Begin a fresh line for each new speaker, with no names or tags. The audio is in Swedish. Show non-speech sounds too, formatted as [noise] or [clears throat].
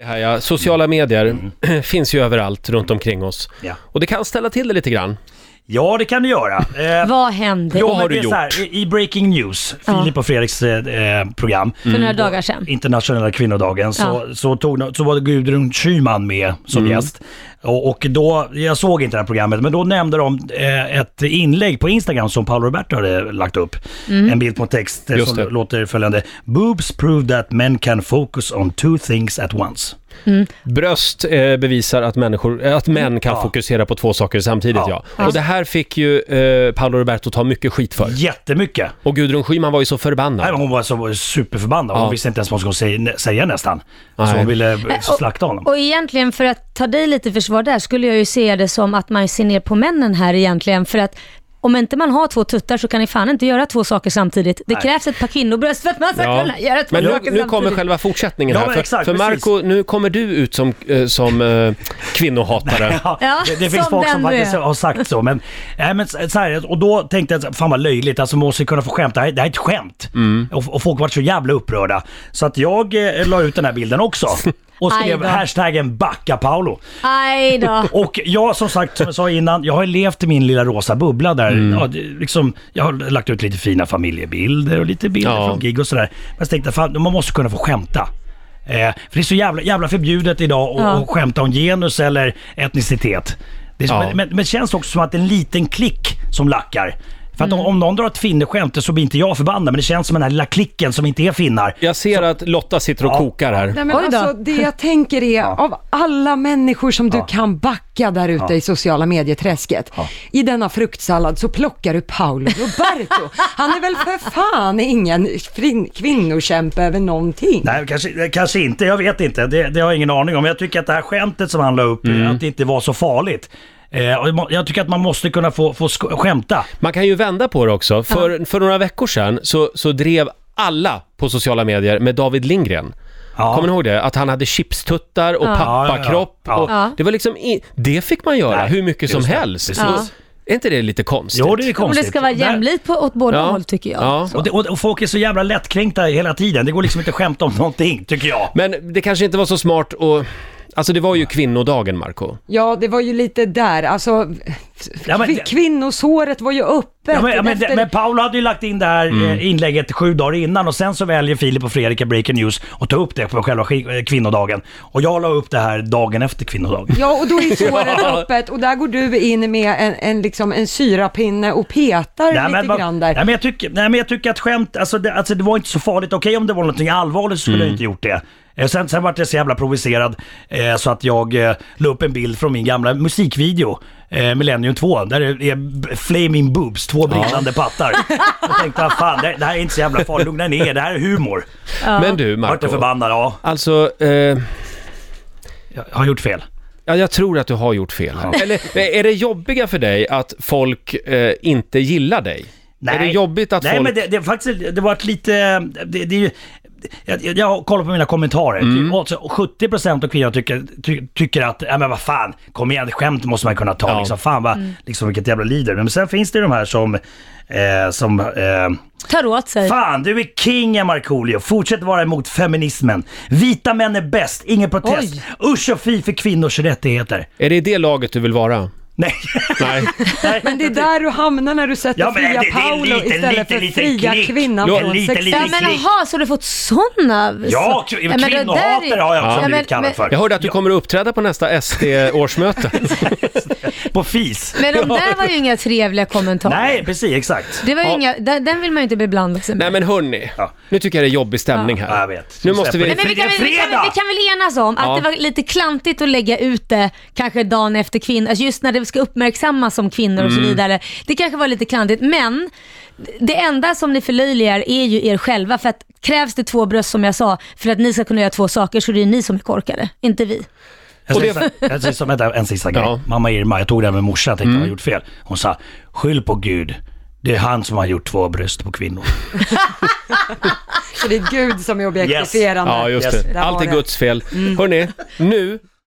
det här, ja. Sociala medier [clears throat] finns ju överallt runt omkring oss.
Ja.
Och det kan ställa till det lite grann.
Ja, det kan
[laughs]
du göra. Eh,
Vad hände
jo,
Vad
men
har du
det är så här, i- I Breaking News,
Ja.
Filip och Fredriks eh, eh, program,
Mm.
för några dagar sedan?
Mm. internationella kvinnodagen, så, så, tog, no- så var det Gudrun Schyman med som
Mm.
gäst. Och, och då, jag såg inte det här programmet, men då nämnde de eh, ett inlägg på Instagram som Paolo Roberto hade lagt upp. En bild på text eh,
Mm. Just
som
det.
låter följande. Boobs prove that men can focus on two things at once.
Bröst eh, bevisar att, människor, eh, att män kan
Ja.
fokusera på två saker samtidigt, ja.
Ja.
Och det här fick ju eh, Paolo Roberto ta mycket skit för.
Jättemycket.
Och Gudrun Schyman var ju så
Nej,
förbannad.
men hon var så superförbannad. Hon
Ja.
visste inte ens vad hon skulle säga, säga nästan.
Nej.
Så hon ville eh,
Men, och-
slakta honom.
Och egentligen för att ta dig lite i försvar där skulle jag ju se det som att man ser ner på männen här egentligen för att om inte man har två tuttar så kan ni fan inte göra två saker samtidigt. Det krävs ett par kvinnobröst för att man ska kunna göra två
Men nu,
saker
nu
samtidigt.
kommer själva fortsättningen
Ja,
här.
men
För,
exakt,
för
precis.
Marco, nu kommer du ut som, eh, som eh, kvinnohatare.
Ja,
Ja,
det, det finns
som
folk som
den
faktiskt
du är.
har sagt så. Men, nej, men så så här, och då tänkte jag, så här, fan vad löjligt, alltså man måste ju kunna få skämta. Det här, det här är ett skämt. Och, och folk var så jävla upprörda. Så att jag eh, la ut den här bilden
[laughs]
också. Och
Aj
skrev
då.
hashtaggen backa Paolo.
Aj då.
Och jag som sagt, som jag sa innan, jag har levt i min lilla rosa bubbla där.
Mm.
Ja, det, liksom, jag har lagt ut lite fina familjebilder och lite bilder
Ja.
från gig och sådär. Men jag tänkte, fan, man måste kunna få skämta. Eh, för det är så jävla, jävla förbjudet idag att
Ja.
att skämta om genus eller etnicitet. Det är, som-
Ja.
men, men, men det känns också som att det är en liten klick som lackar. För att om,
Mm.
om någon drar ett finneskämt så blir inte jag förbannad, men det känns som den här lilla klicken som inte är finnar.
Jag ser att Lotta sitter och
Ja.
kokar här.
Nej, men
Oj då.
alltså, det jag
[laughs]
tänker är, av alla människor som du kan backa där ute i sociala medieträsket, i denna fruktsallad så plockar du Paolo Roberto. Han är väl för fan ingen frin- kvinnokämpe över någonting.
Nej, kanske, eh, kanske inte. Jag vet inte. Det, det har jag ingen aning om. Jag tycker att det här skämtet som han la upp, att det inte var så farligt. Eh, och må- jag tycker att man måste kunna få, få sk- skämta.
Man kan ju vända på det också. För, för några veckor sedan så, så drev alla på sociala medier med David Lindgren.
Ja.
Kommer ni ihåg det? Att han hade chipstuttar och pappakropp.
Ja, ja, ja.
Och
Ja.
Det var liksom, i, det fick man göra
Nej,
hur mycket som
just det.
helst.
Precis.
Ja.
Är inte det lite konstigt?
Jo, det är
Om
konstigt.
det ska vara
Där-
jämlikt på, åt båda
Ja.
håll tycker jag.
Ja.
Och, det, och, och folk är så jävla lättkränkta hela tiden. Det går liksom inte att skämta om [laughs] någonting, tycker jag.
Men det kanske inte var så smart att... Alltså det var ju kvinnodagen, Marco.
Ja, det var ju lite där, alltså,
Ja, men-
kvi- kvinnosåret var ju öppet.
Ja, men, ja, men,
Efter-
men Paolo hade ju lagt in det här eh, inlägget sju dagar innan och sen så väljer Filip och Fredrik i Breaking News att ta upp det på själva sk- eh, kvinnodagen. Och jag la upp det här dagen efter kvinnodagen.
Ja, och
[laughs]
då är såret öppet och där går du in med en, en, liksom, en syrapinne och petar lite
man-
grann där.
Nej, men jag tycker, nej men jag tycker att skämt, alltså det, alltså det var inte så farligt. Okej om det var någonting allvarligt så skulle jag inte gjort det. Eh, Sen, sen vart jag så jävla provocerad eh, så att jag eh, la upp en bild från min gamla musikvideo, eh, Millennium 2, där det är b- flaming boobs, två brinnande pattar. Jag tänkte, "Ah, fan det, det här är inte så jävla farligt, lugna ner det här är humor.
Men du,
Vart jag
Marco.
förbannad, ja.
Alltså, eh,
Jag har gjort fel.
Ja, jag tror att du har gjort fel. här. Eller är det jobbiga för dig att folk eh, inte gillar dig? Är det jobbigt att
Nej,
folk...
men det, det, faktiskt, det var ett lite... Det, det, är ju- jag, jag- jag kollar på mina kommentarer.
Mm.
Typ, alltså, 70% av kvinnor tycker, ty, tycker att, ja men vad fan, kom igen, skämt måste man kunna ta.
Ja.
Liksom, fan vad, liksom, vilket jävla lider. Men sen finns det ju de här som, eh, som eh,
Tar åt sig.
Fan, du är king Markoolio. Fortsätt vara emot feminismen. Vita män är bäst, ingen protest. Usch och fy för kvinnors rättigheter.
Är det i det laget du vill vara?
Nej. [laughs]
Nej.
Nej.
Men det är där du hamnar när du sätter
Ja, men
fria
det- det är en
Paolo
liten,
istället
liten,
för
liten
fria
klick.
kvinnan
Ja,
från
en liten,
sex-
liten-
Ja men jaha, så har du fått sådana...
Ja, kv-
men det där är-
kvinnohatare har jag också
Ja, men-
blivit kallad
men-
för.
Jag hörde att du kommer att uppträda på nästa
[laughs]
SD-årsmöte.
På FIS. [laughs]
Men de där var ju inga trevliga kommentarer.
Nej, precis, exakt.
Det var ju
Ja.
inga, den den vill man ju inte beblanda sig med.
Nej men hörni,
Ja.
nu tycker jag det är jobbig stämning här.
Ja, jag vet.
Nu måste vi...
Nej, men vi, kan, väl- vi, kan, väl- vi kan väl enas om att
Ja.
det var lite klantigt att lägga ut det kanske dagen efter kvinnor, alltså just när det ska uppmärksammas som kvinnor och så vidare. Det kanske var lite klantigt men det enda som ni förlöjligar är ju er själva för att krävs det två bröst som jag sa för att ni ska kunna göra två saker så det är ni som är korkade, inte vi.
Jag
Och
säger
det-
så- jag säger så- vänta,
[laughs]
en sista grej.
Ja. Mm.
Mamma Irma, jag tog det här med morsan, jag tänkte jag har gjort fel. Hon sa, skyll på Gud. Det är han som har gjort två bröst på kvinnor.
Så det är Gud som är objektifierande.
Ja, just
Yes.
det.
Där
Allt
var
är
det.
Mm.
Guds fel. Hörni, nu